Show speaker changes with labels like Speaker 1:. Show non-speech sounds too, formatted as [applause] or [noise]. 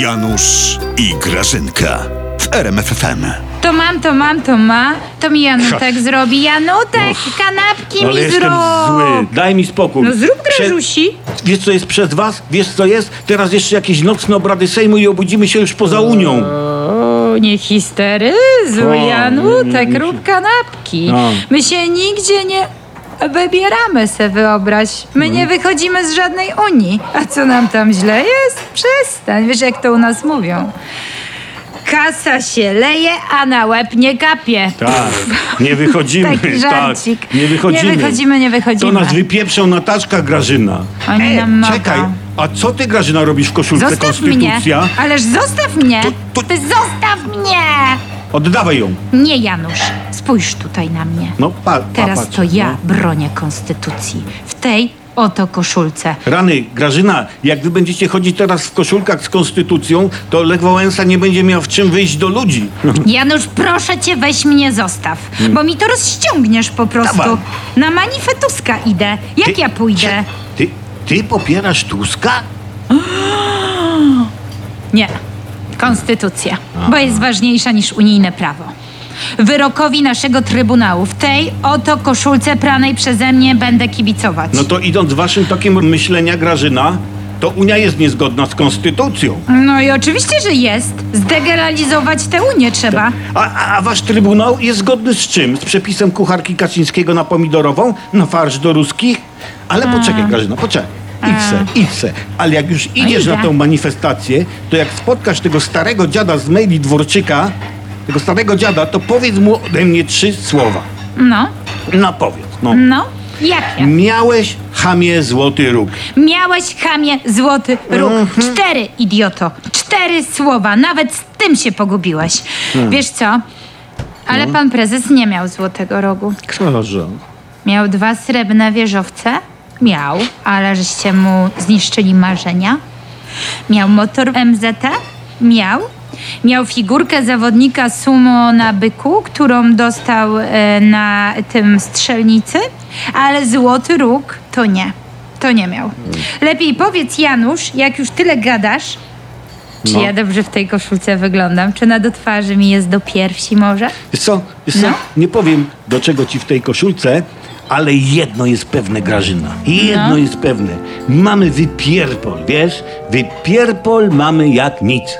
Speaker 1: Janusz i Grażynka w RMFFM.
Speaker 2: To mam, to mam, to ma. To mi Janutek zrobi. Janutek, kanapki
Speaker 3: No Ale
Speaker 2: mi
Speaker 3: jestem
Speaker 2: zrób.
Speaker 3: zły, daj mi spokój.
Speaker 2: No zrób
Speaker 3: Prze-
Speaker 2: Grażusi.
Speaker 3: Wiesz co jest przez was? Wiesz co jest? Teraz jeszcze jakieś nocne obrady Sejmu i obudzimy się już poza Unią.
Speaker 2: O, nie histeryzuj,
Speaker 3: O,
Speaker 2: Janutek,
Speaker 3: nie- nie-
Speaker 2: rób kanapki.
Speaker 3: No.
Speaker 2: My się nigdzie nie wybieramy, se wyobraź. My
Speaker 3: No
Speaker 2: nie wychodzimy z żadnej Unii. A co nam tam źle jest? Przestań, wiesz jak to u nas mówią. Kasa się leje, a na łeb nie kapie.
Speaker 3: Tak,
Speaker 2: [laughs]
Speaker 3: nie wychodzimy.
Speaker 2: Taki żarcik.
Speaker 3: Tak, nie wychodzimy.
Speaker 2: Nie wychodzimy, nie wychodzimy.
Speaker 3: To nas wypieprzą na taczkach, Grażyna.
Speaker 2: Oni
Speaker 3: E,
Speaker 2: nam mogą.
Speaker 3: czekaj, a co ty, Grażyna, robisz w koszulce
Speaker 2: Zostaw mnie!
Speaker 3: Konstytucja?
Speaker 2: Ależ zostaw mnie!
Speaker 3: to-
Speaker 2: Ty zostaw mnie!
Speaker 3: Oddawaj ją.
Speaker 2: Nie, Janusz, spójrz tutaj na mnie.
Speaker 3: No, pa, pa,
Speaker 2: Teraz
Speaker 3: patrz,
Speaker 2: to ja
Speaker 3: no.
Speaker 2: bronię konstytucji. W tej oto koszulce.
Speaker 3: Rany, Grażyna, jak wy będziecie chodzić teraz w koszulkach z konstytucją, to Lech Wałęsa nie będzie miał w czym wyjść do ludzi.
Speaker 2: Janusz, proszę cię, weź mnie zostaw, bo mi to rozściągniesz po prostu.
Speaker 3: Mm. Dawaj.
Speaker 2: Na manifetuska idę. Jak
Speaker 3: Ty-
Speaker 2: ja pójdę?
Speaker 3: Ty, ty popierasz Tuska?
Speaker 2: Nie. Konstytucja, bo jest ważniejsza niż unijne prawo. Wyrokowi naszego trybunału w tej oto koszulce pranej przeze mnie będę kibicować.
Speaker 3: No to idąc waszym tokiem myślenia, Grażyna, to Unia jest niezgodna z konstytucją.
Speaker 2: No i oczywiście, że jest. Zdegeralizować tę Unię trzeba.
Speaker 3: A, a, a wasz trybunał jest zgodny z czym? Z przepisem kucharki Kaczyńskiego na pomidorową? Na farsz do ruskich? Ale poczekaj, Grażyna, poczekaj. Idź se, idź se. Ale jak już idziesz
Speaker 2: idę.
Speaker 3: na tę manifestację, to jak spotkasz tego starego dziada z maili Dworczyka, tego starego dziada, to powiedz mu ode mnie trzy słowa.
Speaker 2: No,
Speaker 3: No powiedz, no.
Speaker 2: no. Jakie?
Speaker 3: Mm. Miałeś chamie złoty róg.
Speaker 2: Miałeś chamie złoty róg.
Speaker 3: Mhm.
Speaker 2: Cztery, idioto. Cztery słowa. Nawet z tym się pogubiłeś.
Speaker 3: Hmm.
Speaker 2: Wiesz co? Ale
Speaker 3: No.
Speaker 2: pan prezes nie miał złotego rogu.
Speaker 3: Książę.
Speaker 2: Miał dwa srebrne wieżowce? Miał, ale żeście mu zniszczyli marzenia. Miał motor MZT? Miał. Miał figurkę zawodnika sumo na byku, którą dostał e, na tym strzelnicy, ale złoty róg to nie. To nie miał. Lepiej powiedz, Janusz, jak już tyle gadasz, czy
Speaker 3: No.
Speaker 2: ja dobrze w tej koszulce wyglądam? Czy na do twarzy mi jest do piersi może?
Speaker 3: Wiesz co, wiesz co?
Speaker 2: No.
Speaker 3: nie powiem do czego ci w tej koszulce, ale jedno jest pewne, Grażyna. Jedno
Speaker 2: No.
Speaker 3: jest pewne. Mamy wypierpol, wiesz? Wypierpol mamy jak nic.